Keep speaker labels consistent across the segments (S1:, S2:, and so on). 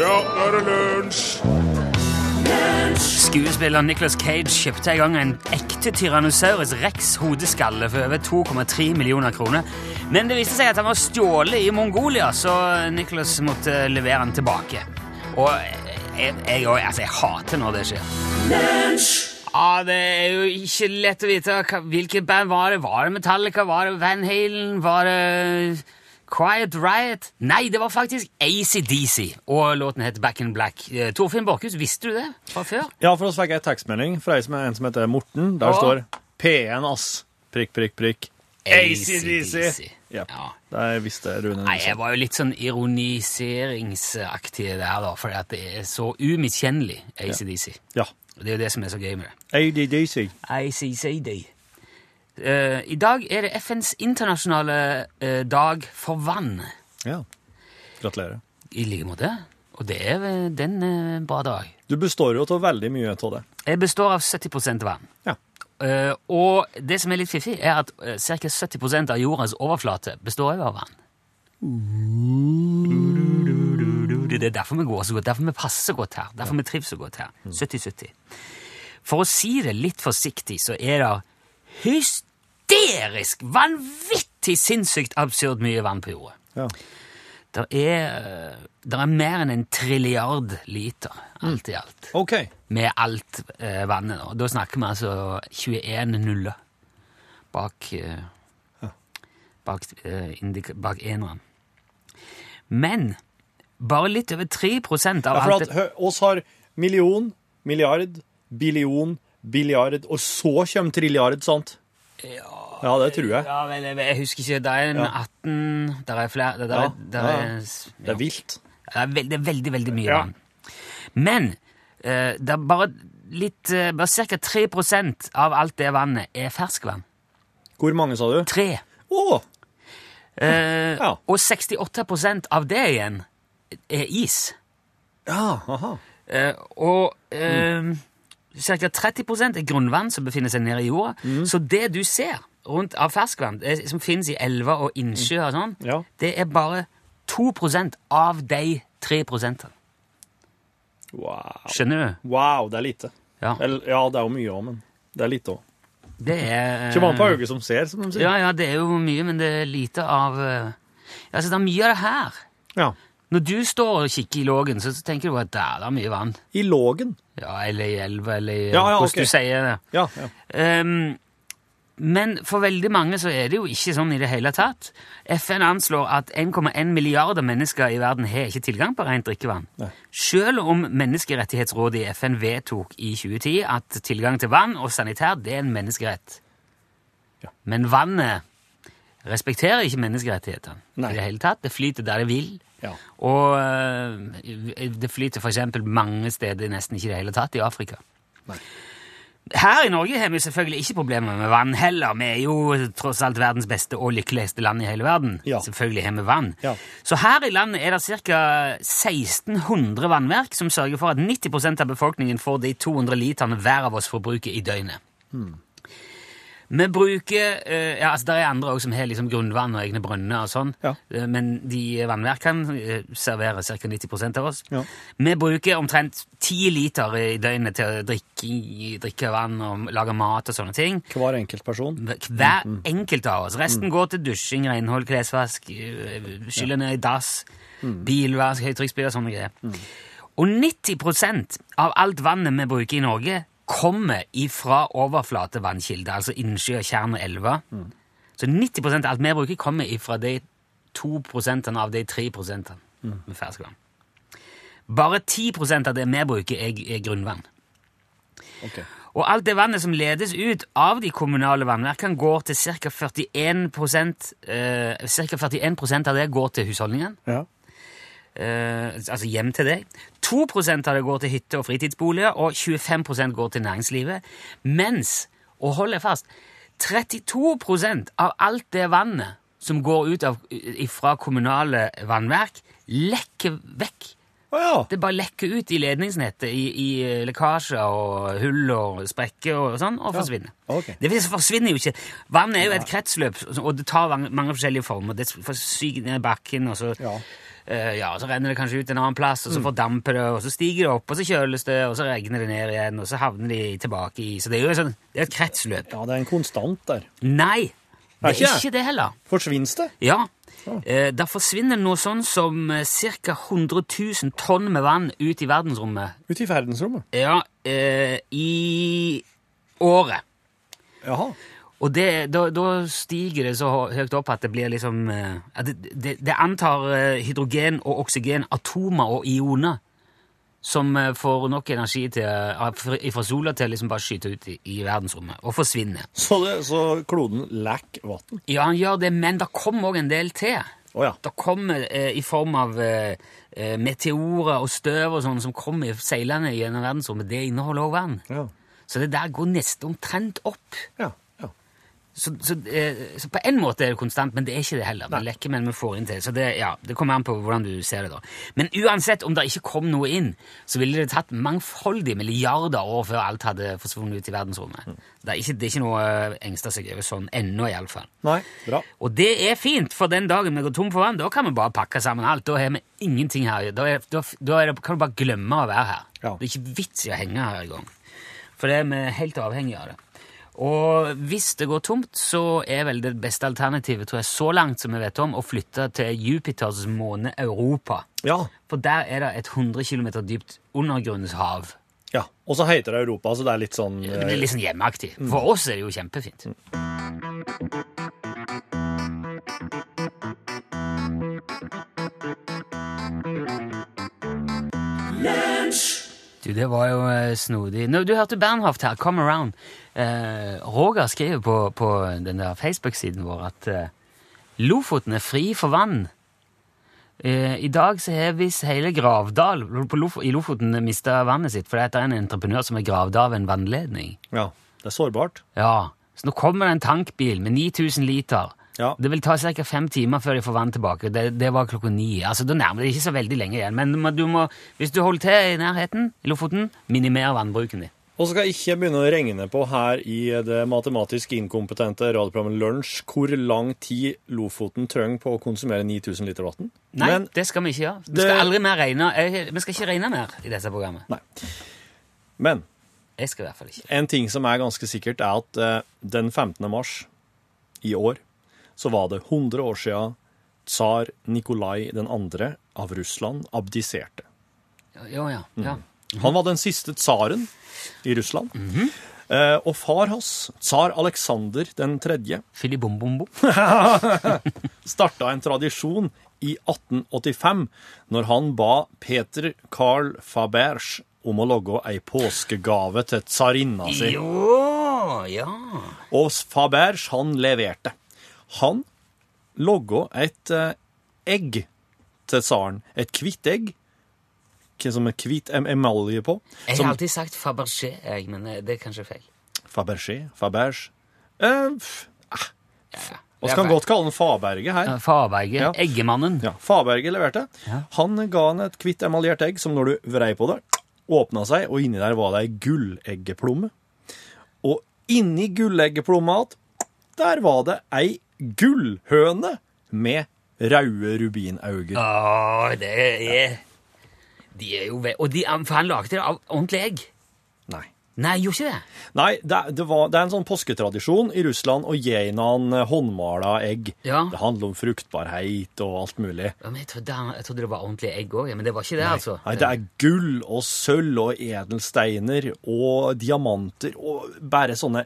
S1: Ja, nå er det lunsj!
S2: Skuespiller Nicolas Cage kjøpte en gang en ekte Tyrannosaurus rex-hodeskalle for over 2,3 millioner kroner. Men det viste seg at han var stjålet i Mongolia, så Nicolas måtte levere den tilbake. Og jeg, jeg, og- altså, jeg hater når det skjer. Ja, Det er jo ikke lett å vite hva, hvilket band var det. Var det Metallica? Var det Van Halen? Var det Quiet Riot? Nei, det var faktisk ACDC, og låten het Back in Black. Eh, Torfinn Borchhus, visste du det fra før?
S3: Ja, for oss fikk jeg tekstmelding fra en som, en som heter Morten. Der
S2: Ja.
S3: står P1, ass. Prikk, prikk, prikk.
S2: AC/DC.
S3: Ja.
S2: Ja.
S3: Der visste Rune.
S2: Nei, jeg var jo litt sånn ironiseringsaktig der, da, fordi at det er så umiskjennelig, ACDC.
S3: Ja.
S2: Og Det er jo det som er så gøy med det.
S3: ADDC.
S2: ICCD. Eh, I dag er det FNs internasjonale eh, dag for vann.
S3: Ja. Gratulerer.
S2: I like måte. Og det er vel- den eh, en bra dag.
S3: Du består jo av veldig mye av det.
S2: Jeg består av 70 vann.
S3: Ja.
S2: Eh, og det som er litt fiffig, er at uh, ca. 70 av jordens overflate består jo av vann. Det er derfor vi går så godt, derfor vi passer godt her, derfor vi trives så godt her. 70-70. For å si det litt forsiktig, så er det hysterisk, vanvittig sinnssykt absurd mye vann på jorda.
S3: ja.
S2: Det er, eh, der er mer enn en trilliard liter, alt i alt
S3: OK.
S2: med alt eh, vannet. Da. da snakker vi altså 21 nuller bak, eh, bak, eh, indik- bak eneren. Men bare litt over 3 av
S3: Ja, for
S2: alt
S3: at hø, oss har million, milliard, billion, billiard, og så kommer trilliard, sant? Ja, det tror jeg.
S2: Ja, vel, jeg, jeg husker ikke. Det er en 18 Der er flere der,
S3: Ja,
S2: er, der
S3: ja.
S2: er,
S3: Det er vilt.
S2: Det er veldig, veldig, veldig mye
S3: Ja.
S2: vann. Men eh, det er bare litt eh, Bare ca. 3 av alt det vannet er ferskvann.
S3: Hvor mange, sa du?
S2: 3
S3: Å!
S2: Eh,
S3: Ja.
S2: Og 68 av det igjen er is.
S3: Ja, aha.
S2: Eh, og eh, ca. 30 er grunnvann som befinner seg nede i jorda.
S3: Mm.
S2: Så det du ser rundt av ferskvann, det som finnes i elver og innsjøer og sånn,
S3: Ja.
S2: det er bare 2 av de 3 prosentene.
S3: Wow.
S2: Skjønner du?
S3: wow, det er lite.
S2: Ja.
S3: Eller, ja, det er jo mye òg, men det er lite òg.
S2: Det er eh,
S3: Kommer an på øyet som ser, som de sier.
S2: Ja, ja, det er jo mye, men det er lite av eh, Altså, det er mye av det her.
S3: Ja.
S2: Når du står og kikker i lågen, så tenker du at der, det er mye vann.
S3: I lågen.
S2: Ja, eller i elva, eller i-
S3: Ja, ja,
S2: hvordan
S3: ok.
S2: du sier det.
S3: Ja, ja.
S2: Ehm, men for veldig mange så er det jo ikke sånn i det hele tatt. FN anslår at 1,1 milliarder mennesker i verden har ikke tilgang på rent drikkevann.
S3: Nei.
S2: Selv om Menneskerettighetsrådet i FN vedtok i 2010 at tilgang til vann og sanitær det er en menneskerett.
S3: Ja.
S2: Men vannet respekterer ikke menneskerettighetene
S3: Nei.
S2: i det hele tatt. Det flyter der det vil.
S3: Ja.
S2: Og øh, det flyter f.eks. mange steder nesten ikke i det hele tatt i Afrika. Her i Norge har vi selvfølgelig ikke problemer med vann heller. Vi er jo tross alt verdens beste og lykkeligste land i hele verden.
S3: Ja.
S2: Selvfølgelig har vi vann.
S3: Ja.
S2: Så her i landet er det ca. 1600 vannverk som sørger for at 90 av befolkningen får de 200 literne hver av oss forbruker i døgnet.
S3: Hmm.
S2: Vi bruker eh, ja, altså Det er andre også som har liksom grunnvann og egne brønner og sånn,
S3: Ja.
S2: Eh, men de vannverkene eh, serverer ca. 90 av oss.
S3: Ja.
S2: Vi bruker omtrent 10 liter i døgnet til å drikke, drikke vann og lage mat og sånne ting.
S3: Hver enkelt person.
S2: Hver enkelt av oss. Resten går til dusjing, renhold, klesvask, øh, skylle ned i dass, bilvask, høytrykksspyler og sånne greier. Og 90 av alt vannet vi bruker i Norge, kommer ifra overflatevannskilder, altså innsjø, tjern og elver. Så 90 av alt vi bruker, kommer ifra de 2 av de 3 med ferskvann. Bare 10 av det vi bruker, er, er grunnvann.
S3: Ok.
S2: Og alt det vannet som ledes ut av de kommunale vannverkene, går til ca. 41 eh, Cirka 41 av det går til husholdningen,
S3: Ja.
S2: eh, altså hjem til deg. 2 av det går til hytte- og fritidsboliger, og 25 går til næringslivet. Mens, og hold deg fast, 32 av alt det vannet som går ut av, fra kommunale vannverk, lekker vekk
S3: Å ja.
S2: Det bare lekker ut i ledningsnettet, i, i lekkasjer og hull og sprekker og sånn, og forsvinner.
S3: ok.
S2: Det vis- forsvinner jo ikke. Vann er jo et kretsløp, og det tar van- mange forskjellige former. Det forsyker ned i bakken, og så,
S3: Ja. Mm.
S2: eh, ja, så renner det kanskje ut en annen plass, og så fordamper det, og så stiger det opp, og så kjøles det, og så regner det ned igjen, og så havner de tilbake i Så det er jo et sånn, det er et kretsløp.
S3: ja, det er en konstant der.
S2: Nei! Det
S3: Er
S2: er
S3: ikke det?
S2: ikke det heller.
S3: Forsvinnes det?
S2: Ja. Eh, da forsvinner noe sånn som ca. 100 000 tonn med vann ut i verdensrommet
S3: Ute i verdensrommet.
S2: ja, eh, i året.
S3: Jaha.
S2: Og det, da, da stiger det så hø- høyt opp at det blir liksom eh, at det, det, det antar eh, hydrogen og oksygen, atomer og ioner, som eh, får nok energi til, eh, fra- fra sola til å liksom bare skyte ut i, i verdensrommet og forsvinne.
S3: Så, det, så kloden lekk vann.
S2: Ja, han gjør det, men det kommer òg en del til.
S3: Å ja.
S2: Det kommer eh, i form av eh, eh, meteorer og støv og sånn som kommer seilende gjennom verdensrommet. Det inneholder også vann.
S3: Ja.
S2: Så det der går nesten omtrent opp.
S3: ja. ja.
S2: Så, så, eh, så på en måte er det konstant, men det er ikke det heller. Det lekker, men vi får inn til. Så det, ja, det kommer an på hvordan du ser det, da. Men uansett, om det ikke kom noe inn, så ville det tatt mangfoldige milliarder år før alt hadde forsvunnet ut i verdensrommet. Det er ikke, det er ikke noe å engste seg over sånn ennå, iallfall.
S3: Nei, bra.
S2: Og det er fint, for den dagen vi går tom for vann, da kan vi bare pakke sammen alt. Da har vi ingenting her. Da, er, da, da er det, kan du bare glemme å være her.
S3: Ja.
S2: Det er ikke vits i å henge her engang. For det er vi helt avhengig av det. Og hvis det går tomt, så er vel det beste alternativet, tror jeg, så langt som vi vet om, å flytte til Jupiters måne Europa.
S3: Ja.
S2: For der er det et 100 km dypt undergrunnshav.
S3: ja. Og så heter det Europa, så det er litt sånn
S2: Det blir litt sånn hjemmeaktig. For oss er det jo kjempefint. Du, det var jo eh, snodig. Nå, du hørte Bernhoft her, Come Around. Eh, Roger skrev jo på, på den der Facebook-siden vår at eh, Lofoten er fri for vann. Eh, I dag så har visst hele Gravdal på Lof i Lofoten mista vannet sitt fordi at det er en entreprenør som har gravd av en vannledning.
S3: Ja. Det er sårbart.
S2: Ja, Så nå kommer det en tankbil med 9000 liter.
S3: Ja.
S2: Det vil ta ca. fem timer før de får vann tilbake. Det, det var klokka ni. Altså, Da nærmer det ikke så veldig lenge igjen. Men du må, du må, hvis du holder til i nærheten, i Lofoten, minimer vannbruken din.
S3: Og så skal jeg ikke begynne å regne på her i det matematisk inkompetente radioprogrammet Lunsj hvor lang tid Lofoten trenger på å konsumere 9000 liter vann.
S2: Nei,
S3: Men
S2: det skal vi ikke gjøre. Vi
S3: Det-
S2: skal aldri mer regne. Jeg, vi skal ikke regne mer i dette programmet.
S3: Men
S2: Jeg skal i hvert fall ikke.
S3: en ting som er ganske sikkert, er at eh, den 15. mars i år så var det 100 år siden tsar Nikolai 2. av Russland abdiserte.
S2: Jo, ja.
S3: Mm.
S2: ja.
S3: Han var den siste tsaren i Russland. Eh, og far hans, tsar Aleksander 3.,
S2: Filibom-bom-bom.
S3: starta en tradisjon i 1885 når han ba Peter Carl Faberge om å logge ei påskegave til tsarinna si.
S2: Jo, ja.
S3: Og Faberge, han leverte. Han logga et eh, egg til tsaren. Et hvitt egg k- som er hvit em- emalje på.
S2: Jeg har
S3: Som
S2: alltid sagt Fabergé, jeg, men eh, det er kanskje feil.
S3: Fabergé, Faberge eh, pff,
S2: Ja.
S3: Vi kan godt kalle den Faberge her.
S2: Farberget.
S3: Ja.
S2: Eggemannen.
S3: Ja, Faberge leverte.
S2: Ja.
S3: Han ga han et hvitt emaljert egg som når du vrei på det, åpna seg, og inni der var det ei gulleggeplomme. Og inni gulleggeplomma att, der var det ei gullhøne med røde rubinauger.
S2: Åh, det er De er jo ve Og de, for han lagde det av ordentlig egg.
S3: Nei.
S2: Nei, gjorde ikke det?
S3: Nei, det, det, var, det er en sånn påsketradisjon i Russland å gi han håndmala egg.
S2: Ja.
S3: Det handler om fruktbarhet og alt mulig.
S2: Ja, men jeg, trodde, han- jeg trodde det var ordentlig egg òg, men det var ikke det, altså.
S3: Nei, det er gull og sølv og edelsteiner og diamanter og bare sånne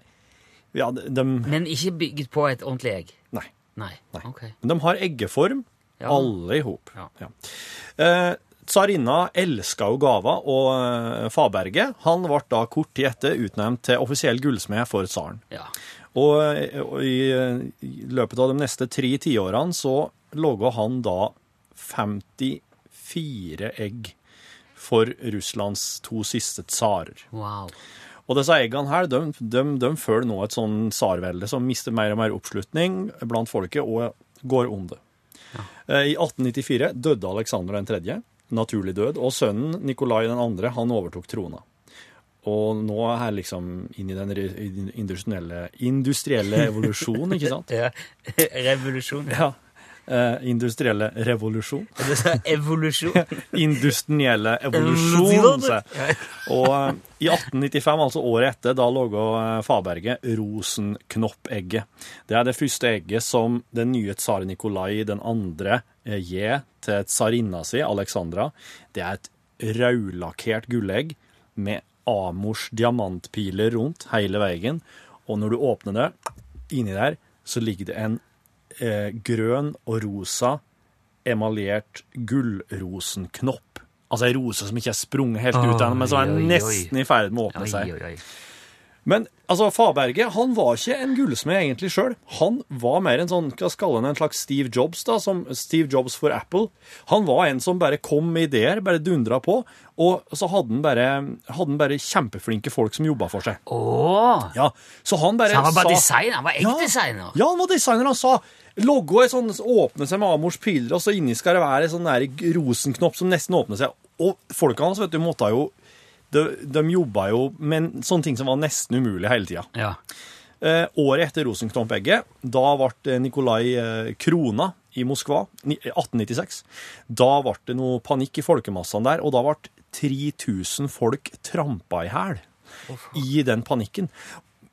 S3: Ja, de, de-
S2: Men ikke bygget på et ordentlig egg?
S3: Nei.
S2: Nei.
S3: Nei.
S2: Ok.
S3: Men de har eggeform,
S2: Ja.
S3: alle i hop.
S2: Ja.
S3: Eh, Tsarinna elska jo gava, og eh, Faberge han ble da kort tid etter utnevnt til offisiell gullsmed for tsaren.
S2: Ja.
S3: Og, eh, og i, eh, i løpet av de neste tre tiårene så logga han da 54 egg for Russlands to siste tsarer.
S2: Wow.
S3: Og disse eggene her, de, de, de følger nå et sånn tsarvelde som mister mer og mer oppslutning blant folket og går om det. Eh, I 1894 døde Aleksander 3. naturlig død, og sønnen Nikolai den andre, han overtok trona. Og nå er her liksom inn i den re- i den industrielle, industrielle evolusjonen, ikke sant?
S2: Ja. Revolusjon.
S3: Ja. Eh, industrielle revolusjon.
S2: Du sa evolusjon.
S3: Industrielle evolusjon, sa
S2: Ja.
S3: jeg. Og eh, i 1895, altså året etter, da lå eh, Faberget rosenknoppegget. Det er det første egget som den nye tsaren Nikolai den andre eh, gir til tsarinna si, Alexandra. Det er et rødlakkert gullegg med Amors diamantpiler rundt hele veien. Og når du åpner det, inni der, så ligger det en eh, grønn og rosa emaljert gullrosenknopp. Altså ei rose som ikke er sprunget helt ut ennå, men som er
S2: Oi, oi, oi.
S3: nesten i ferd med å åpne
S2: Oi,
S3: seg.
S2: oi, oi.
S3: Men altså, Faberge han var ikke en gullsmed egentlig sjøl. Han var mer en sånn, hva skal han, en slags Steve Jobs, da, som Steve Jobs for Apple. Han var en som bare kom med ideer, bare dundra på, og så hadde han bare, hadde han bare kjempeflinke folk som jobba for seg.
S2: Åh,
S3: Ja, så han bare
S2: så han var bare
S3: sa
S2: designer. Han var ekte designer.
S3: ja, han var designer. Han sa logoet sånn, åpner seg med Amors piler, og så inni skal det være en sånn der rosenknopp som nesten åpner seg. Og folka hans, vet du, måtte jo de, de jobba jo med sånne ting som var nesten umulig hele tida.
S2: Ja.
S3: Eh, året etter Rosenknopp-egget, da ble Nikolai eh, krona i Moskva ni- 1896. Da ble det noe panikk i folkemassene der, og da ble 3000 folk trampa i hæl i den panikken.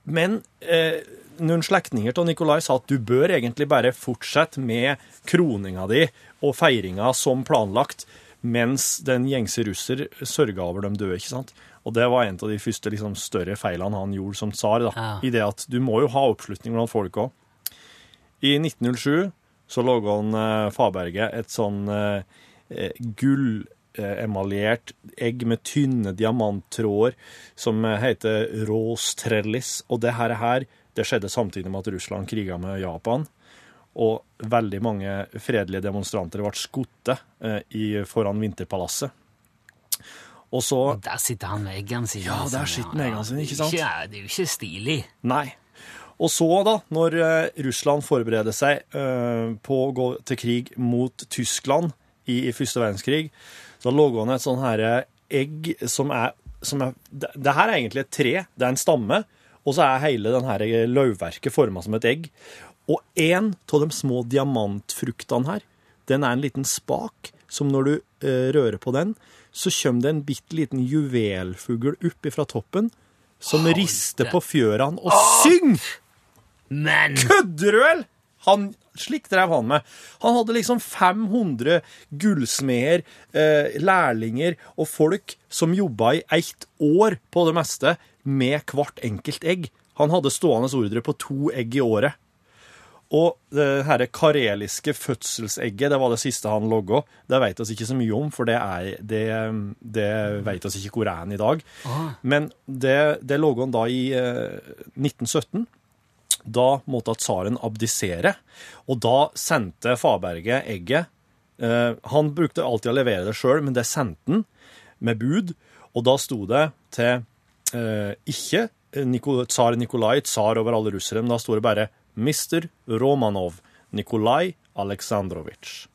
S3: Men eh, noen slektninger av Nikolai sa at du bør egentlig bare fortsette med kroninga di og feiringa som planlagt, mens den gjengse russer sørga over de døde, ikke sant? Og det var en av de første liksom, større feilene han gjorde som tsar, da.
S2: Ja.
S3: I det at du må jo ha oppslutning blant folk òg. I 1907 så laga han eh, Faberget et sånn eh, eh, gull eh, emaljert egg med tynne diamanttråder som eh, heter Rostrellis. Og det her, her det skjedde samtidig med at Russland kriga med Japan. Og veldig mange fredelige demonstranter ble skutt eh, i- foran Vinterpalasset. Og så
S2: Og der sitter han med eggene sine. Altså,
S3: Ja, der sitter han med eggene sine, ikke sant?
S2: Det er ikke- det er jo ikke stilig.
S3: Nei. Og så, da, når eh, Russland forbereder seg eh, på å gå til krig mot Tyskland i, i første verdenskrig, så lå han et sånn her eh, egg som er, som er det, det her er egentlig et tre, det er en stamme, og så er hele den her løvverket forma som et egg. Og én av de små diamantfruktene her, den er en liten spak som når du eh, rører på den, så kommer det en bitte liten juvelfugl opp ifra toppen som rister på fjørene og synger!
S2: Men
S3: Kødder du, vel?! Han, slik drev han med. Han hadde liksom 500 gullsmeder, eh, lærlinger og folk som jobba i ett år på det meste med hvert enkelt egg. Han hadde stående ordre på to egg i året. Og det herre kareliske fødselsegget, det var det siste han logga. Det veit oss ikke så mye om, for det, er, det, det veit oss ikke hvor er han i dag. Men det, det logga han da i eh, 1917. Da måtte tsaren abdisere, og da sendte Faberget egget. Eh, han brukte alltid å levere det sjøl, men det sendte han med bud, og da sto det til eh, ikke Niko- tsar Nikolai, tsar over alle russere, men da sto det bare Mr. Romanov, Nikolai Aleksandrovitsj.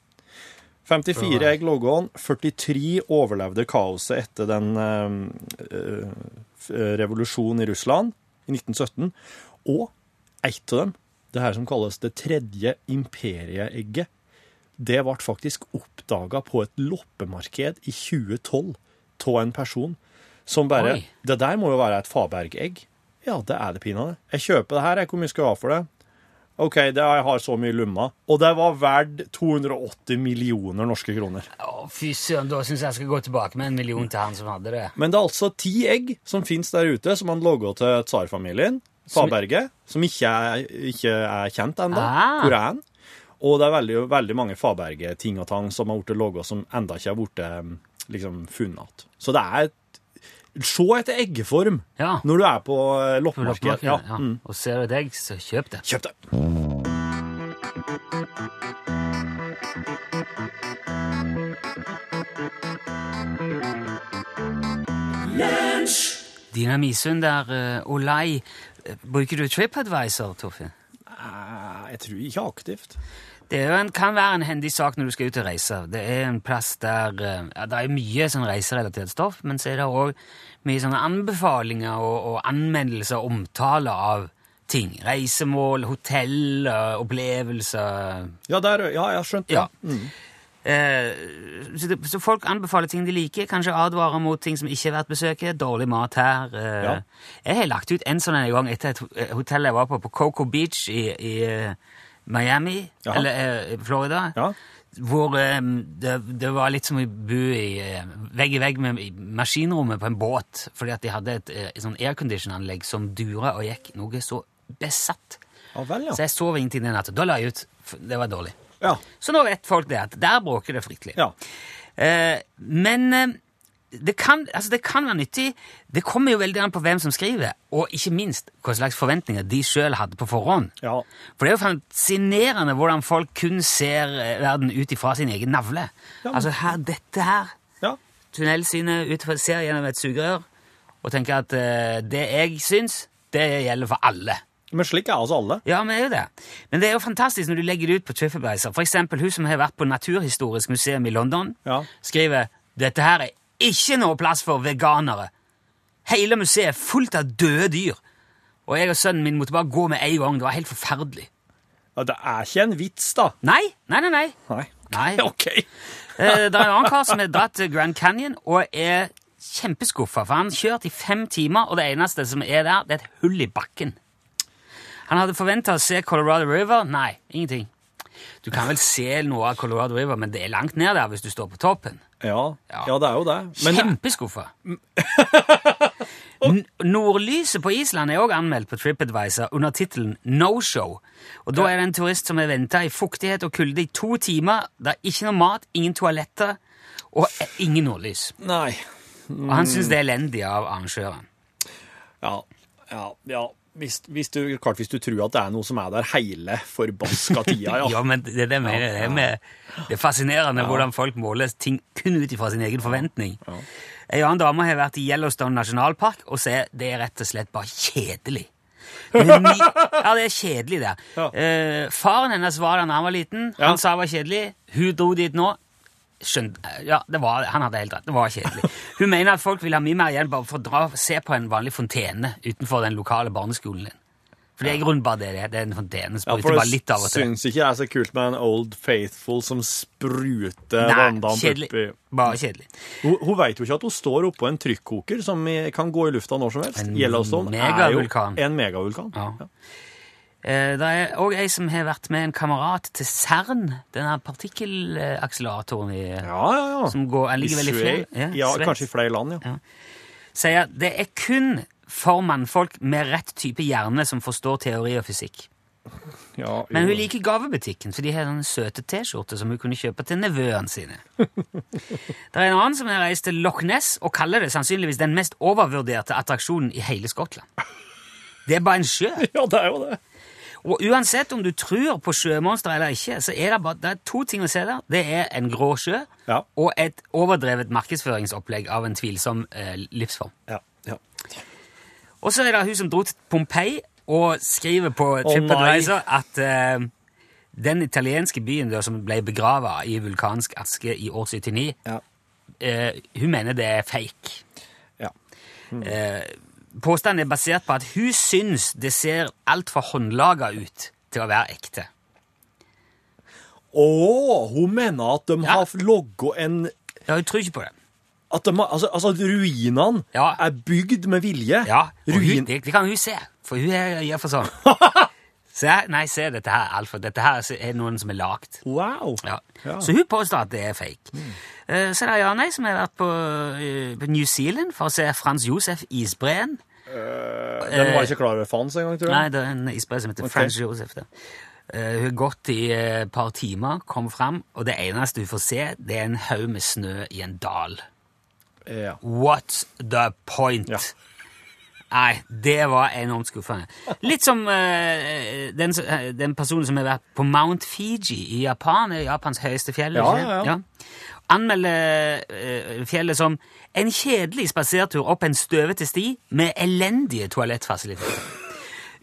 S3: 54 egg lå an, 43 overlevde kaoset etter den eh, eh, f- eh, revolusjonen i Russland i 1917, og ett av dem, det her som kalles det tredje imperieegget, det ble faktisk oppdaga på et loppemarked i 2012 av en person som bare
S2: Oi.
S3: Det der må jo være et Faberg-egg. Ja, det er det pinadø. Jeg kjøper det her, jeg. Hvor mye skal jeg ha for det? OK, det jeg har så mye i lomma. Og det var verdt 280 millioner norske kroner.
S2: å, fy søren, da syns jeg jeg skal gå tilbake med en million til han som hadde det.
S3: Men det er altså ti egg som fins der ute, som han logga til tsarfamilien, Faberget, som ikke er, ikke er kjent ennå.
S2: Ah.
S3: Hvor er han? Og det er veldig, veldig mange Faberget-ting og tang som har blitt logga, som enda ikke har blitt liksom, funnet igjen. Så det er et Se etter eggeform
S2: Ja.
S3: når du er på eh, loppemarkedet.
S2: Loppemarkedet,
S3: Ja.
S2: ja.
S3: Mm.
S2: Og ser du deg, så kjøp det.
S3: Kjøp det!
S2: Dina Misund der, eh, Olai. Eh, Bruker du TripAdvisor, Torfinn?
S3: Eh, Jeg tror Ah, ikke aktivt.
S2: Det er jo en, kan være en hendig sak når du skal ut og reise. Det er en plass der eh, ja, Det er mye sånn reiserelatert stoff, men så er det òg mye sånne anbefalinger og, og anmeldelser og omtaler av ting. Reisemål, hotell, eh, opplevelser
S3: Ja, der, ja jeg har skjønt det.
S2: Ja. Eh, så, det, så folk anbefaler ting de liker, kanskje advarer mot ting som ikke er verdt besøket. Dårlig mat her. eh.
S3: Ja.
S2: Jeg har lagt ut en sånn en gang etter et ho- eh, hotell jeg var på, på Coco Beach i, i eh, Miami,
S3: Jaha.
S2: eller eh, i Florida.
S3: Ja.
S2: Hvor eh, det, det var litt som å bo i, eh, vegg i vegg med i maskinrommet på en båt, fordi at de hadde et, eh, et sånn aircondition-anlegg som dura og gikk noe så besatt.
S3: Ja vel,
S2: Så
S3: ja.
S2: jeg sov ingenting den natta. Da la jeg ut. for Det var dårlig.
S3: Ja.
S2: Så nå vet folk det at der bråker det fryktelig.
S3: ja.
S2: Eh, men eh, det, kan, altså det kan være nyttig. Det kommer jo veldig an på hvem som skriver, og ikke minst hva slags forventninger de sjøl hadde på forhånd.
S3: Ja.
S2: For det er jo fascinerende hvordan folk kun ser eh, verden ut ifra sin egen navle.
S3: Ja, men-
S2: Altså her, dette her
S3: ja.
S2: tunnelsynet ut fra- ser gjennom et sugerør og tenker at eh, det jeg syns, det gjelder for alle.
S3: Men slik er altså alle.
S2: Ja, vi er jo det. Men det er jo fantastisk når du legger det ut på TripAdvisor. For eksempel hun som har vært på Naturhistorisk museum i London,
S3: Ja.
S2: skriver «Dette her er ikke noe plass for veganere. Hele museet er fullt av døde dyr. Og jeg og sønnen min måtte bare gå med en gang. Det var helt forferdelig.
S3: Ja, Det er ikke en vits, da.
S2: Nei, nei, nei, nei.
S3: Nei.
S2: Nei.
S3: OK.
S2: Eh, Det er en annen kar som har dratt til Grand Canyon og er kjempeskuffa, for han kjørte i fem timer, og det eneste som er der, det er et hull i bakken. Han hadde forventa å se Colorado River. Nei, ingenting. Du kan vel se noe av Colorado River, men det er langt ned der hvis du står på toppen.
S3: Ja.
S2: Ja.
S3: ja, det er jo det. Men
S2: Kjempeskuffa. N- Nordlyset på Island er òg anmeldt på TripAdvisor under tittelen No Show. Og Da er det en turist som har venta i fuktighet og kulde i to timer. Det er ikke noe mat, ingen toaletter og eh, ingen nordlys.
S3: Nei.
S2: Og han syns det er elendig av arrangøren.
S3: Ja. Ja. ja. Hvis, hvis du, klart hvis du tror at det er noe som er der hele forbaska tida, ja.
S2: Ja, men det, er det, jeg mener, det, er med, det er fascinerende hvordan folk måler ting kun ut ifra sin egen forventning. Ei annen dame har vært i Yellowstone nasjonalpark og sier det er rett og slett bare kjedelig. Men ni, ja, det er kjedelig der.
S3: Ja.
S2: Eh, faren hennes var der da han var liten.
S3: Ja.
S2: Han sa det var kjedelig. Hun dro dit nå. Skjønt, ja, det var, han hadde helt rett. Det var kjedelig. Hun mener at folk vil ha mye mer igjen bare for å dra og se på en vanlig fontene utenfor den lokale barneskolen din. For det er i grunnen bare det det er. Det er en fontene som
S3: Ja,
S2: spruter
S3: for
S2: bare litt
S3: det
S2: av og til.
S3: syns ikke det er så kult med en Old Faithful som spruter
S2: Nei,
S3: vanndamp oppi
S2: kjedelig. Bare kjedelig.
S3: Hun, hun veit jo ikke at hun står oppå en trykkoker som i- kan gå i lufta når som helst.
S2: En
S3: Yellowstone er jo
S2: megavulkan.
S3: en megavulkan.
S2: Ja. Eh, Det er òg ei som har vært med en kamerat til CERN, denne partikkelakseleratoren i
S3: ja, ja. ja.
S2: Som går- den ligger vel i
S3: Svei-
S2: flere- ja,
S3: Ja,
S2: Sveits.
S3: kanskje i flere land, ja.
S2: Sier det er kun for mannfolk med rett type hjerne som forstår teori og fysikk.
S3: ja
S2: Men
S3: jo.
S2: hun liker gavebutikken, for de har sånne søte T-skjorter som hun kunne kjøpe til nevøene sine. Det er en annen som har reist til Loch Ness og kaller det sannsynligvis den mest overvurderte attraksjonen i hele Skottland. Det er bare en sjø.
S3: Ja, det er jo det.
S2: Og uansett om du tror på sjømonster eller ikke, så er det bare det er to ting å se der. Det er en grå sjø
S3: Ja.
S2: og et overdrevet markedsføringsopplegg av en tvilsom eh, livsform.
S3: Ja, ja.
S2: Og så er det hun som dro til Pompeii og skriver på TripAdvisor at eh, den italienske byen der som ble begrava i vulkansk aske i år 79,
S3: Ja.
S2: eh, hun mener det er fake.
S3: ja.
S2: Påstanden er basert på at hun syns det ser altfor håndlaga ut til å være ekte.
S3: Å, hun mener at de har logga en
S2: Ja, hun tror ikke på det.
S3: At de har, altså, altså, at ruinene
S2: Ja.
S3: er bygd med vilje.
S2: Ja, og hun,
S3: Ruin...
S2: det, det kan hun se, for hun er, gjør for sånn. Se, nei, se dette her, Alfred. Dette her er noen som er lagt.
S3: Wow.
S2: Ja.
S3: Ja. Mm.
S2: Så hun påstår at det er fake. Eh, så det er Janei som har vært på, eh, på New Zealand for å se Frans Josef Isbreen.
S3: Den Eh,
S2: Eh,
S3: var ikke klar over fans engang, tror jeg.
S2: Nei, det er en isbre som heter Frans Josef. Da. Eh, hun har gått i eh, et par timer, kom fram, og det eneste hun får se, det er en haug med snø i en dal.
S3: Ja.
S2: What's the point?
S3: Ja.
S2: Nei, det var enormt skuffende. Litt som eh, den, s- eh, den personen som har vært på Mount Fiji i Japan, det er Japans høyeste fjell.
S3: Ja,
S2: ikke
S3: ja,
S2: det?
S3: ja.
S2: Anmelder eh, fjellet som en kjedelig spasertur opp en støvete sti med elendige toalettfasiliteter.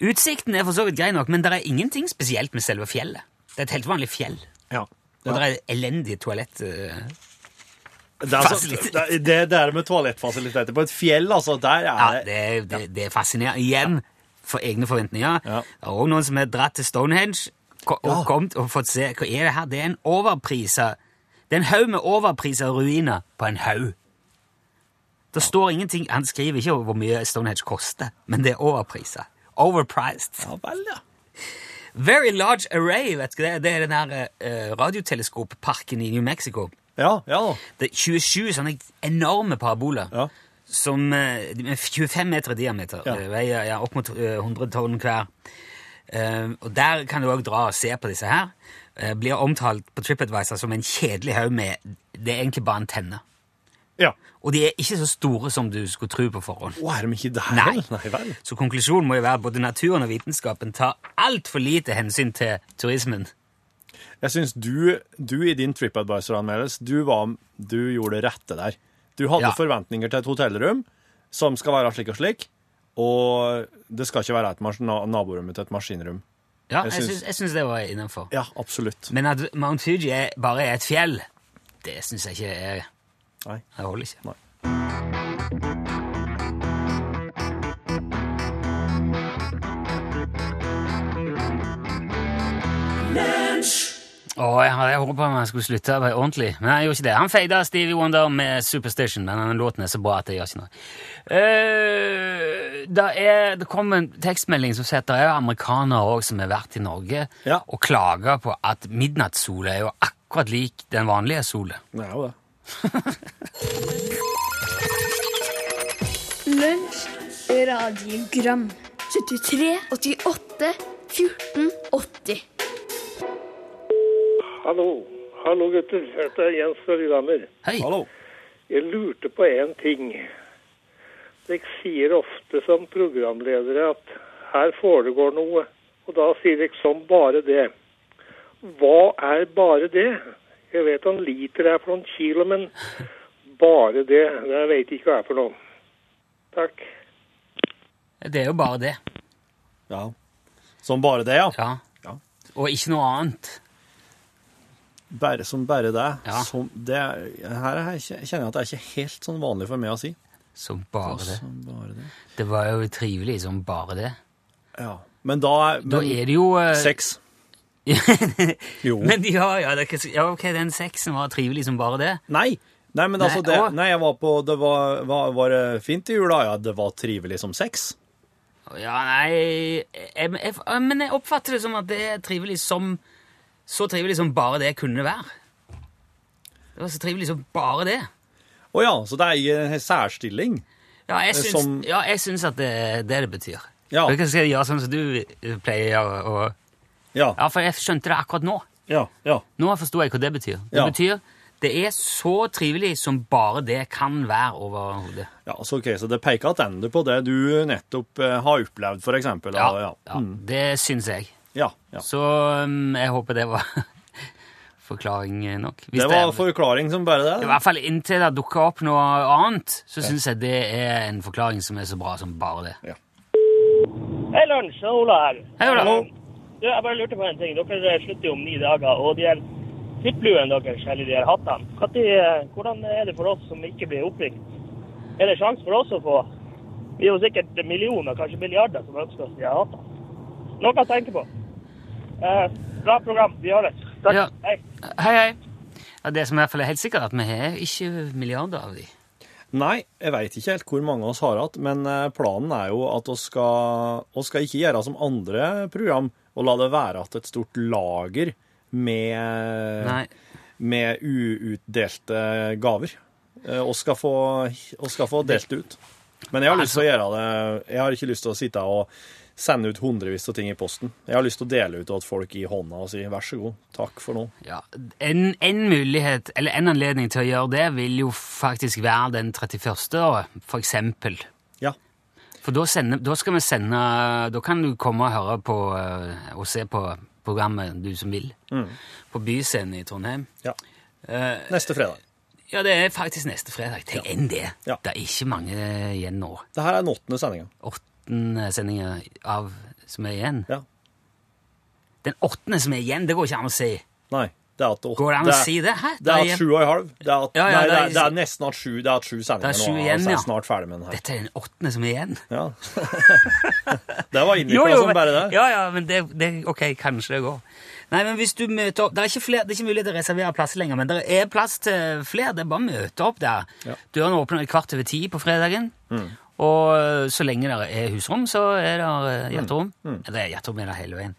S2: Utsikten er for så vidt grei nok, men det er ingenting spesielt med selve fjellet. Det er et helt vanlig fjell.
S3: Ja.
S2: Og det er et elendig toalett. eh.
S3: Det er, altså,
S2: Fasilitet.
S3: det, det der med toalettfasiliteter på et fjell, altså, der
S2: Ja,
S3: er
S2: det, er- det, det er fascinerende. Igjen, for egne forventninger.
S3: Ja.
S2: Det er også noen som har dratt til Stonehenge ko- og
S3: Ja.
S2: kommet og fått se Hva er det her? Det er en overprisa Det er en haug med overprisa ruiner på en haug. Det står ingenting Han skriver ikke hvor mye Stonehenge koster, men det er overprisa. Overpriced.
S3: Ja vel, ja.
S2: Very Large Array, vet du det? Det er den her eh, radioteleskopparken i New Mexico.
S3: Ja, ja da.
S2: Det er 27 sånne enorme paraboler.
S3: Ja.
S2: Som eh, med 25 meter i diameter.
S3: Ja.
S2: eh, Veier ja, opp mot eh, 100 tonn hver. Eh, og der kan du òg dra og se på disse her. Eh, blir omtalt på TripAdvisor som en kjedelig haug med Det er egentlig bare antenner.
S3: Ja.
S2: Og de er ikke så store som du skulle tro på forhånd.
S3: Å, er de ikke der?
S2: Nei.
S3: Nei vel.
S2: Så konklusjonen må jo være at både naturen og vitenskapen tar altfor lite hensyn til turismen.
S3: Jeg syns du, du i din TripAdvisor-anmeldelse, du, var- du gjorde det rette der. Du hadde
S2: Ja.
S3: forventninger til et hotellrom som skal være slik og slik, og det skal ikke være et mas- na- naborom til et maskinrom.
S2: Ja, jeg
S3: Jeg syns-
S2: syns, jeg syns det var innenfor.
S3: Ja, absolutt.
S2: Men at Mount Fuji er, bare er et fjell, det syns jeg ikke er
S3: Nei.
S2: Det holder ikke.
S3: Nei.
S2: Å, jeg hadde håpet på at han skulle slutte bare ordentlig, men han gjorde ikke det. Han feida Stevie Wonder med Superstition, men den låten er så bra at det gjør ikke noe. Eh, da er, det kom en tekstmelding som sier at det er jo amerikanere også som har vært i Norge
S3: Ja.
S2: og klager på at midnattssola er jo akkurat lik den vanlige sola.
S3: Det er jo det.
S4: Lunsj, radiogram 73, 88, 14, 80
S5: Hallo. Hallo, gutter. Dette er Jens fra Lillehammer.
S2: Hei!
S3: Hallo.
S5: Jeg lurte på én ting. Dere sier ofte som programledere at her foregår noe, og da sier dere som bare det. Hva er bare det? Jeg vet han liter er for noen kilo, men bare det, det veit jeg ikke hva er for noe. Takk.
S2: Det er jo bare det.
S3: Ja. Som bare det, ja.
S2: Ja.
S3: Ja.
S2: Og ikke noe annet.
S3: Bare som bare det.
S2: Ja.
S3: Som det her er, jeg kjenner jeg at det er ikke helt sånn vanlig for meg å si.
S2: Som bare det.
S3: Som bare det.
S2: Det var jo trivelig som bare det.
S3: Ja. Men da er,
S2: Da
S3: men,
S2: er det jo eh,
S3: Sex. Jo.
S2: Men ja, ja, det er ikke, s- ja, ok, den sexen var trivelig som bare det.
S3: Nei. Nei, men
S2: Nei,
S3: altså det,
S2: å.
S3: nei, jeg var på Det var, var, var det fint i jula? Ja, det var trivelig som sex.
S2: Ja, nei jeg, jeg, Men jeg oppfatter det som at det er trivelig som Så trivelig som bare det kunne være. Det var så trivelig som bare det.
S3: Å ja, så det er i en særstilling.
S2: Ja, jeg syns,
S3: Eh, Som-
S2: ja, jeg syns at det er det det betyr.
S3: Ja.
S2: Skal jeg gjøre sånn som du eh, pleier å gjøre? og-
S3: Ja.
S2: Ja, for jeg skjønte det akkurat nå.
S3: Ja. ja.
S2: Nå forsto jeg hva det betyr. Det
S3: Ja.
S2: betyr det er så trivelig som bare det kan være overhodet.
S3: ja så, ok, så det peker tilbake på det du nettopp eh, har opplevd, for eksempel. da,
S2: Ja,
S3: ja. Mm,
S2: det syns jeg.
S3: ja, ja.
S2: Så um, jeg håper det var forklaring nok. Hvis
S3: Det var
S2: er-
S3: forklaring som bare
S2: I
S3: det.
S2: hvert fall inntil det dukker opp noe annet, så syns jeg det er en forklaring som er så bra som bare det.
S6: Hei, Lars. Det er Ola her.
S2: Hei, Ola. Hallo.
S6: Du, jeg bare lurte på en ting. Dere eh, slutter jo om ni dager, og de her flippluene deres, eller de her hattene, hva tid, eh, hvordan er det for oss som ikke blir oppringt? Er det sjanse for oss å få Vi er jo sikkert millioner, kanskje milliarder, som ønsker oss de her hattene. Noe å tenke på. Eh, bra program. Vi høres. Takk.
S2: Ja.
S6: Hei.
S2: Hei, hei. Ja, det som i hvert fall er helt sikkert, at vi har ikke milliarder av de.
S3: Nei, jeg veit ikke helt hvor mange oss har hatt, men eh, planen er jo at vi skal, oss skal ikke gjøre som andre program og la det være at et stort lager med
S2: Nei.
S3: med uutdelte gaver. eh, Og skal få, og skal få delt ut. Men jeg har lyst til å gjøre det Jeg har ikke lyst til å sitte og sende ut hundrevis av ting i posten. Jeg har lyst til å dele ut til folk i hånda og si vær så god, takk for nå.
S2: Ja, en, en mulighet, eller en anledning til å gjøre det, vil jo faktisk være den 31. året, for eksempel.
S3: Ja.
S2: For da, sender, da skal vi sende Da kan du komme og høre på eh, og se på programmet du som vil.
S3: Mm.
S2: På Byscenen i Trondheim.
S3: ja. Neste fredag.
S2: Ja, det er faktisk neste fredag. Tenk enn det!
S3: Ja.
S2: Det er ikke mange igjen nå.
S3: Det her er den åttende sendinga.
S2: Åttende sendinger av som er igjen.
S3: Ja.
S2: Den åttende som er igjen, det går ikke an å si.
S3: Nei, det er at åtte.
S2: Går det an å si det? Hæ?
S3: Det
S2: Da
S3: er
S2: igjen-
S3: at sju og en halv. Det er, at,
S2: Ja, ja,
S3: nei, det,
S2: det er-
S3: er, det er nesten at sju, det er at sju sendinger
S2: Det er sju
S3: nå.
S2: igjen,
S3: altså, jeg
S2: ja.
S3: er snart ferdig med den her.
S2: Dette er den åttende som er igjen.
S3: Ja. det var innvikla som
S2: men-
S3: sånn bare det.
S2: Ja, ja, men det, det Ok, kanskje det går. Nei, men hvis du møter opp, Det er ikke, flere, det er ikke mulighet til å reservere plass lenger, men det er plass til flere. Det er bare å møte opp der.
S3: Ja. Mm.
S2: Dørene åpner kvart over ti på fredagen. Og øh, så lenge det er husrom, så er det øh,
S3: Mm.
S2: gjetterom. Det er gjetterom er det hele veien.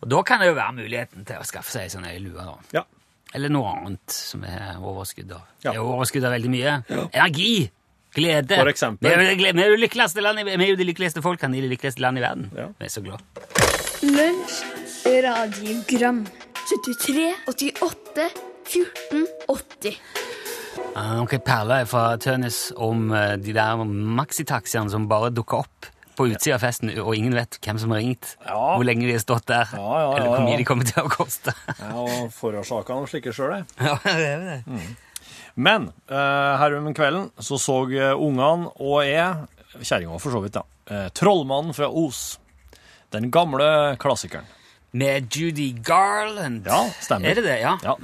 S2: Og da kan det jo være muligheten til å skaffe seg sånn ei lue. da.
S3: Ja.
S2: Eller noe annet som er overskudd av.
S3: Ja.
S2: Det er overskudd av veldig mye. Energi! Glede!
S3: For eksempel.
S2: Vi er jo det gle- vi er jo det lykkeligste landet i- vi er jo de lykkeligste folkene i det lykkeligste landet i verden.
S3: Ja.
S2: Vi er så glad.
S4: Lunsj, radiogram 73, 88, 14, 80
S2: Ah, Noen perler fra Tønnes om eh, de der maxitaxiene som bare dukker opp på utsida av festen, og ingen vet hvem som har ringt,
S3: Ja.
S2: hvor lenge de har stått der,
S3: Ja, ja, ja,
S2: eller hvor mye
S3: ja.
S2: de kommer til å koste.
S3: Ja, og forårsaka noe slike sjøl, jeg.
S2: ja, det er jo det.
S3: Men eh, her om kvelden så så eh, ungene og jeg, kjerringa for så vidt, da, eh, 'Trollmannen fra Os'. Den gamle klassikeren.
S2: Med Judy Garland.
S3: Ja, stemmer.
S2: Er det det? Ja.
S3: Ja.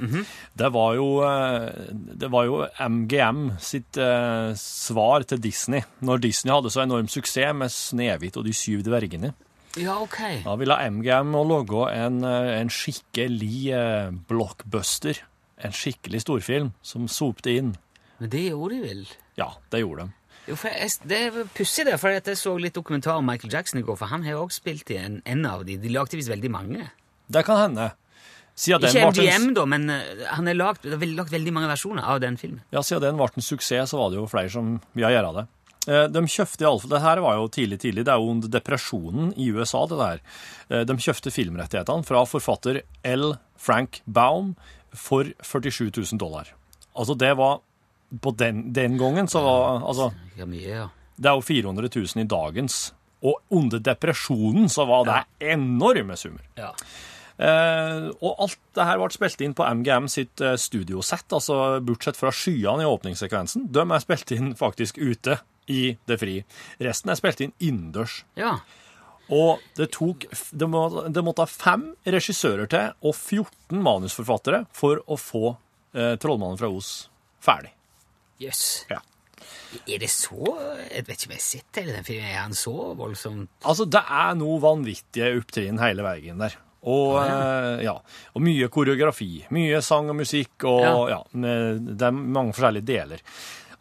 S3: det, var jo, eh, det var jo MGM sitt eh, svar til Disney. Når Disney hadde så enorm suksess med 'Snehvit og de syv dvergene',
S2: ja, ok.
S3: da ville MGM å lage en, eh, en skikkelig eh, blockbuster. En skikkelig storfilm som sopte inn.
S2: Men det gjorde de vel?
S3: Ja, det gjorde de.
S2: Jo, for jeg, det er pussig, det. For at jeg så litt dokumentar om Michael Jackson i går, for han har jo også spilt i en, en av de. De lagde visst veldig mange.
S3: Det kan hende. Siden den
S2: Ikke
S3: ble en-
S2: MGM, da, men eh, han har lagd, det er vel lagd veldig mange versjoner av den filmen.
S3: Ja, siden den ble en suksess, så var det jo flere som ville gjøre det. Eh, De kjøpte iallfall Det her var jo tidlig, tidlig. Det er jo under depresjonen i USA, det der. Eh, De kjøpte filmrettighetene fra forfatter L. Frank Baum for 47 000 dollar. Altså, det var På den, den gangen så var Altså,
S2: Ja, mye, ja.
S3: det er jo 400 000 i dagens. Og under depresjonen så var det enorme summer.
S2: ja.
S3: Eh, og alt det her ble spilt inn på MGM sitt eh, studiosett, altså bortsett fra skyene i åpningssekvensen. De er spilt inn faktisk ute i det fri. Resten er spilt inn innendørs.
S2: Ja.
S3: Og det tok f- det, må, det måtte ha fem regissører til og 14 manusforfattere for å få eh, 'Trollmannen fra Os' ferdig.
S2: Jøss.
S3: Ja.
S2: Er det så Jeg vet ikke om jeg har sett hele den filmen. Er han så voldsom?
S3: Altså, det er noe vanvittige opptrinn hele veien der. Og, eh, ja. og mye koreografi. Mye sang og musikk, og ja. det er mange forskjellige deler.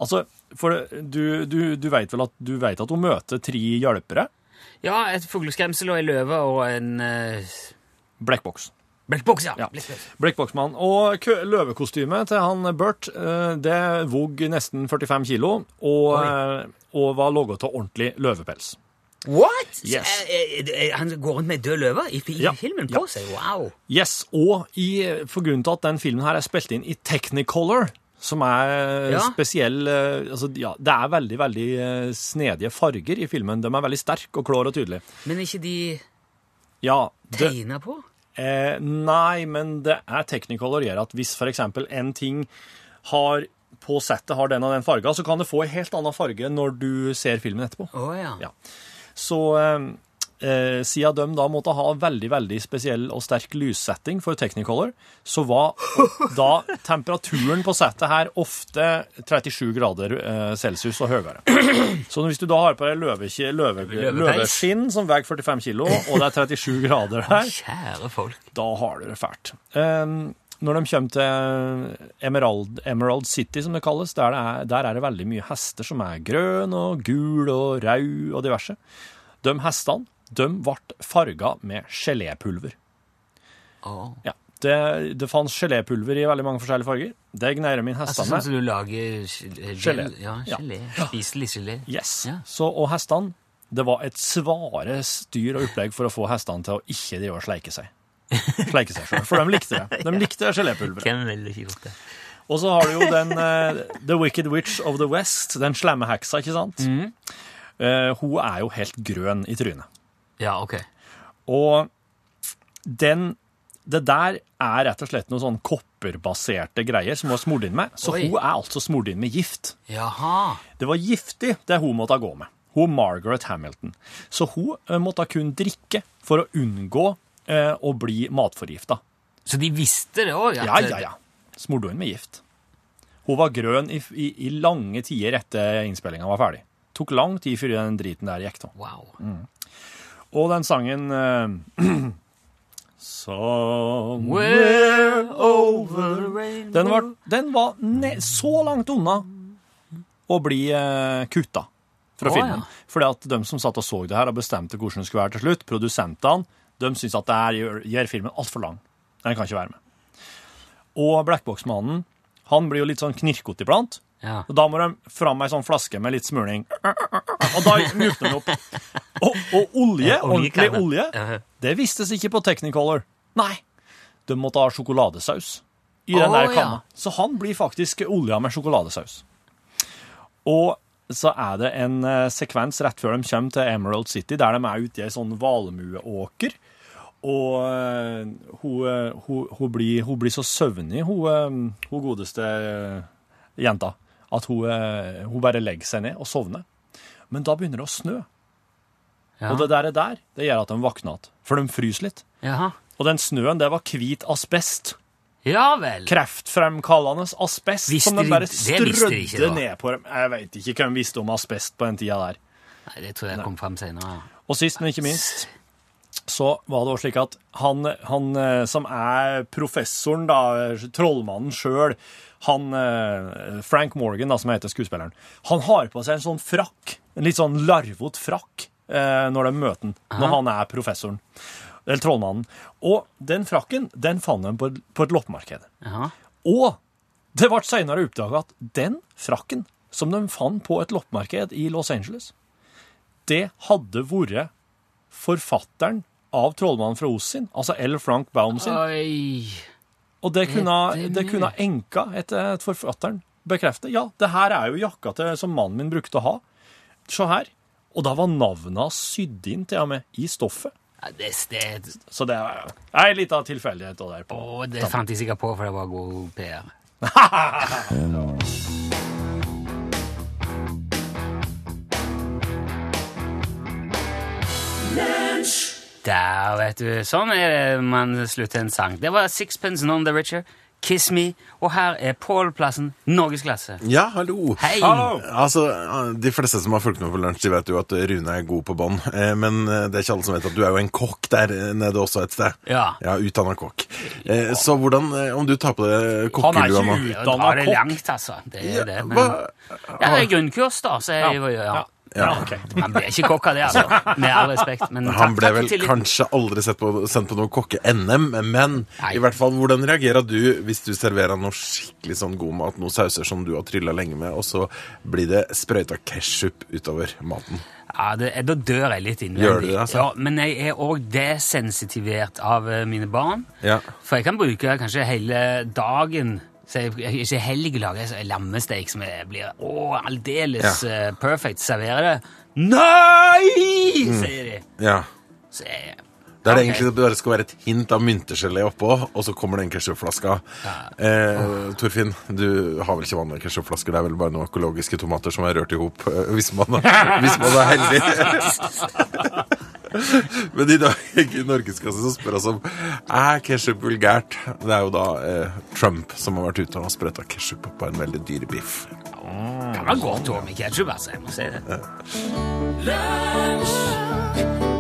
S3: Altså, for det- du, du, du vet vel at du vet at hun møter tre hjelpere?
S2: Ja, et fugleskremsel og ei løve og en uh,
S3: Blackbox.
S2: Blackbox, ja.
S3: Ja.
S2: Blackbox.
S3: Blackbox-mann. Og kø- løvekostymet til han Bert, eh, det vog nesten 45 kilo, og, eh, og var laget av ordentlig løvepels.
S2: What?! Så eh,
S3: Yes.
S2: er- er- er- han går rundt med ei død løve i, i
S3: Ja.
S2: filmen
S3: Ja.
S2: på seg? Wow!
S3: Yes, og i, for grunnen til at den filmen her er spilt inn i Technicolor, som er
S2: Ja.
S3: spesiell eh, altså, ja, Det er veldig veldig eh, snedige farger i filmen. De er veldig sterke og klare og tydelige.
S2: Men er ikke de
S3: Ja, det,
S2: tegna på?
S3: eh, nei, men det er Technicolor gjør at hvis f.eks. en ting har på settet har den og den farga, så kan det få en helt annen farge når du ser filmen etterpå.
S2: Å ja.
S3: Ja. Så eh, eh, siden de da måtte ha veldig, veldig spesiell og sterk lyssetting for Technicolor, så var da temperaturen på settet her ofte 37 grader eh, celsius og høyere. Så hvis du da har på deg løve, løve,
S2: Løvepeis.
S3: løveskinn som veier 45 kilo, og det er 37 grader der,
S2: Kjære folk.
S3: da har du det fælt. Ehm, når de kommer til Emerald, Emerald City, som det kalles, der, det er, der er det veldig mye hester som er grønn og gul og rød og diverse. De hestene de ble farga med gelépulver.
S2: Å.
S3: Ja, det, det fantes gelépulver i veldig mange forskjellige farger. Det gneier min
S2: Altså sånn
S3: hestene med.
S2: som du lager gelé?
S3: Gelé.
S2: Ja,
S3: Ja.
S2: gelé. Spiselig gelé.
S3: Yes.
S2: Ja.
S3: Så, og hestene Det var et svare styr og opplegg for å få hestene til å ikke drive og sleike seg. Sleike seg sjøl. For de likte det. De likte gelépulveret.
S2: Hvem ville ikke gjort det?
S3: Og så har du jo den eh, The Wicked Witch of the West, den slemme heksa, ikke sant? Eh, hun er jo helt grønn i trynet.
S2: Ja, ok.
S3: Og den Det der er rett og slett noen sånn kopperbaserte greier som hun er smurt inn med. Så
S2: Oi.
S3: hun er altså smurt inn med gift.
S2: Jaha.
S3: Det var giftig, det hun måtte gå med. Hun Margaret Hamilton. Så hun eh, måtte kun drikke for å unngå eh, og blir matforgifta.
S2: Så de visste det òg?
S3: Ja, ja, ja. Smurte hun med gift. Hun var grønn i, i, i lange tider etter innspillinga var ferdig. Tok lang tid før den driten der gikk. da.
S2: Wow.
S3: Mm. Og den sangen eh, Somewhere
S2: We're
S3: over
S2: rainbow.
S3: Den var, den var ne så langt unna å bli eh, kutta fra
S2: Å,
S3: filmen.
S2: ja.
S3: Fordi at de som satt og så det her, og bestemte hvordan det skulle være til slutt, produsentene, de syns at det her gjør, gjør filmen altfor lang. Den kan ikke være med. Og Blackbox-mannen, han blir jo litt sånn knirkete iblant.
S2: Ja.
S3: Og da må de fram med ei sånn flaske med litt smurning. Og da mjukner den opp. Og, og olje,
S2: Ja, olje kan
S3: ordentlig
S2: det.
S3: olje,
S2: Ja.
S3: det vistes ikke på Technicolor. Nei. De måtte ha sjokoladesaus i
S2: Å,
S3: den der
S2: ja.
S3: kanna. Så han blir faktisk olja med sjokoladesaus. Og så er det en eh, sekvens rett før de kommer til Emerald City, der de er ute i ei sånn valmueåker. Og eh, hun, eh, hun, hun, blir, hun blir så søvnig, hun, eh, hun godeste eh, jenta, at hun, eh, hun bare legger seg ned og sovner. Men da begynner det å snø.
S2: Ja.
S3: Og det der, der det gjør at de våkner igjen, for de fryser litt.
S2: Jaha.
S3: Og den snøen, det var hvit asbest.
S2: ja vel.
S3: Kreftfremkallende asbest
S2: Visste
S3: som de
S2: de-
S3: bare
S2: det visste de
S3: strødde
S2: ikke, da.
S3: ned på dem. Jeg veit ikke hvem visste om asbest på den tida der.
S2: Nei, det tror jeg kom fram senere. ja.
S3: Og sist, men ikke minst, så var det også slik at han, han eh, som er professoren, da, trollmannen sjøl, han eh, Frank Morgan, da, som heter skuespilleren, han har på seg en sånn frakk, en litt sånn larvot frakk, eh, når de møter han, når han er professoren, eller trollmannen. Og den frakken, den fant de på, på et loppemarked.
S2: Jaha.
S3: Og det ble senere oppdaga at den frakken som de fant på et loppemarked i Los Angeles, det hadde vært forfatteren av 'Trollmannen fra Oz' sin, altså L. Frank Baum sin.
S2: Oi.
S3: Og det kunne,
S2: Ah, det
S3: det kunne enka etter et forfatteren bekrefte. Ja, det her er jo jakka til, som mannen min brukte å ha. Se her. Og da var navnet hans sydd inn til og med i stoffet.
S2: Ja, det, det,
S3: Så det er ei lita tilfeldighet. og der på.
S2: å, det fant de sikkert på, for det var god PR. Der, vet du. Sånn er det man slutter en sang. Det var Sixpence None the Richer, Kiss Me, og her er Pål Plassen, norgesklasse.
S7: Ja, hallo.
S2: Hei!
S3: Hallo!
S7: Altså, De fleste som har fulgt med på lunsj, de vet jo at Rune er god på bånd. Eh, Men eh, det er ikke alle som vet at du er jo en kokk der nede også et sted.
S2: Ja.
S7: ja Utdanna kokk. Eh, Så hvordan eh, Om du tar på deg
S3: Han er
S7: kokkelua
S3: ikke
S7: nå
S2: Ja, Da er
S3: utdanna
S2: det
S3: kokk.
S2: langt, altså. Det er det. Men,
S7: Hva?
S2: ja, det er grunnkurs, da. Så jeg, ja. Ja.
S3: ja, ok.
S2: Han ble ikke kokk av det, altså. Med all respekt. Men takk,
S7: Han ble
S2: takk for
S7: vel
S2: tilliten.
S7: kanskje aldri sett på, sendt på noe kokke-NM, men
S2: Nei.
S7: i hvert fall, hvordan reagerer du hvis du serverer noe skikkelig sånn god mat, noen sauser som du har trylla lenge med, og så blir det sprøyta ketsjup utover maten?
S2: Ja, det, eh, da dør jeg litt innvendig.
S7: Gjør du det, altså?
S2: Ja, men jeg er òg desensitivert av eh, mine barn.
S7: Ja.
S2: For jeg kan bruke kanskje hele dagen så jeg, jeg- Ikke helg lager jeg så- lammesteik som jeg blir å, aldeles
S7: Ja.
S2: eh, perfect. Serverer det. Nei!
S7: Mm.
S2: sier de.
S7: ja.
S2: Så jeg,
S7: Der det
S2: Ok.
S7: egentlig bare skal være et hint av myntegelé oppå, og så kommer den ketsjupflaska. Eh, Torfinn, du har vel ikke vanlige ketsjupflasker? Det er vel bare noen økologiske tomater som er rørt i hop, eh, hvis, man- hvis man er heldig. Men i dag i Norgeskassen så spør oss om er ketsjup vulgært. Det er jo da eh, Trump som har vært ute og sprøyta ketsjup på en veldig dyr biff.
S2: kan være godt òg med ketsjup, altså. Jeg må si det.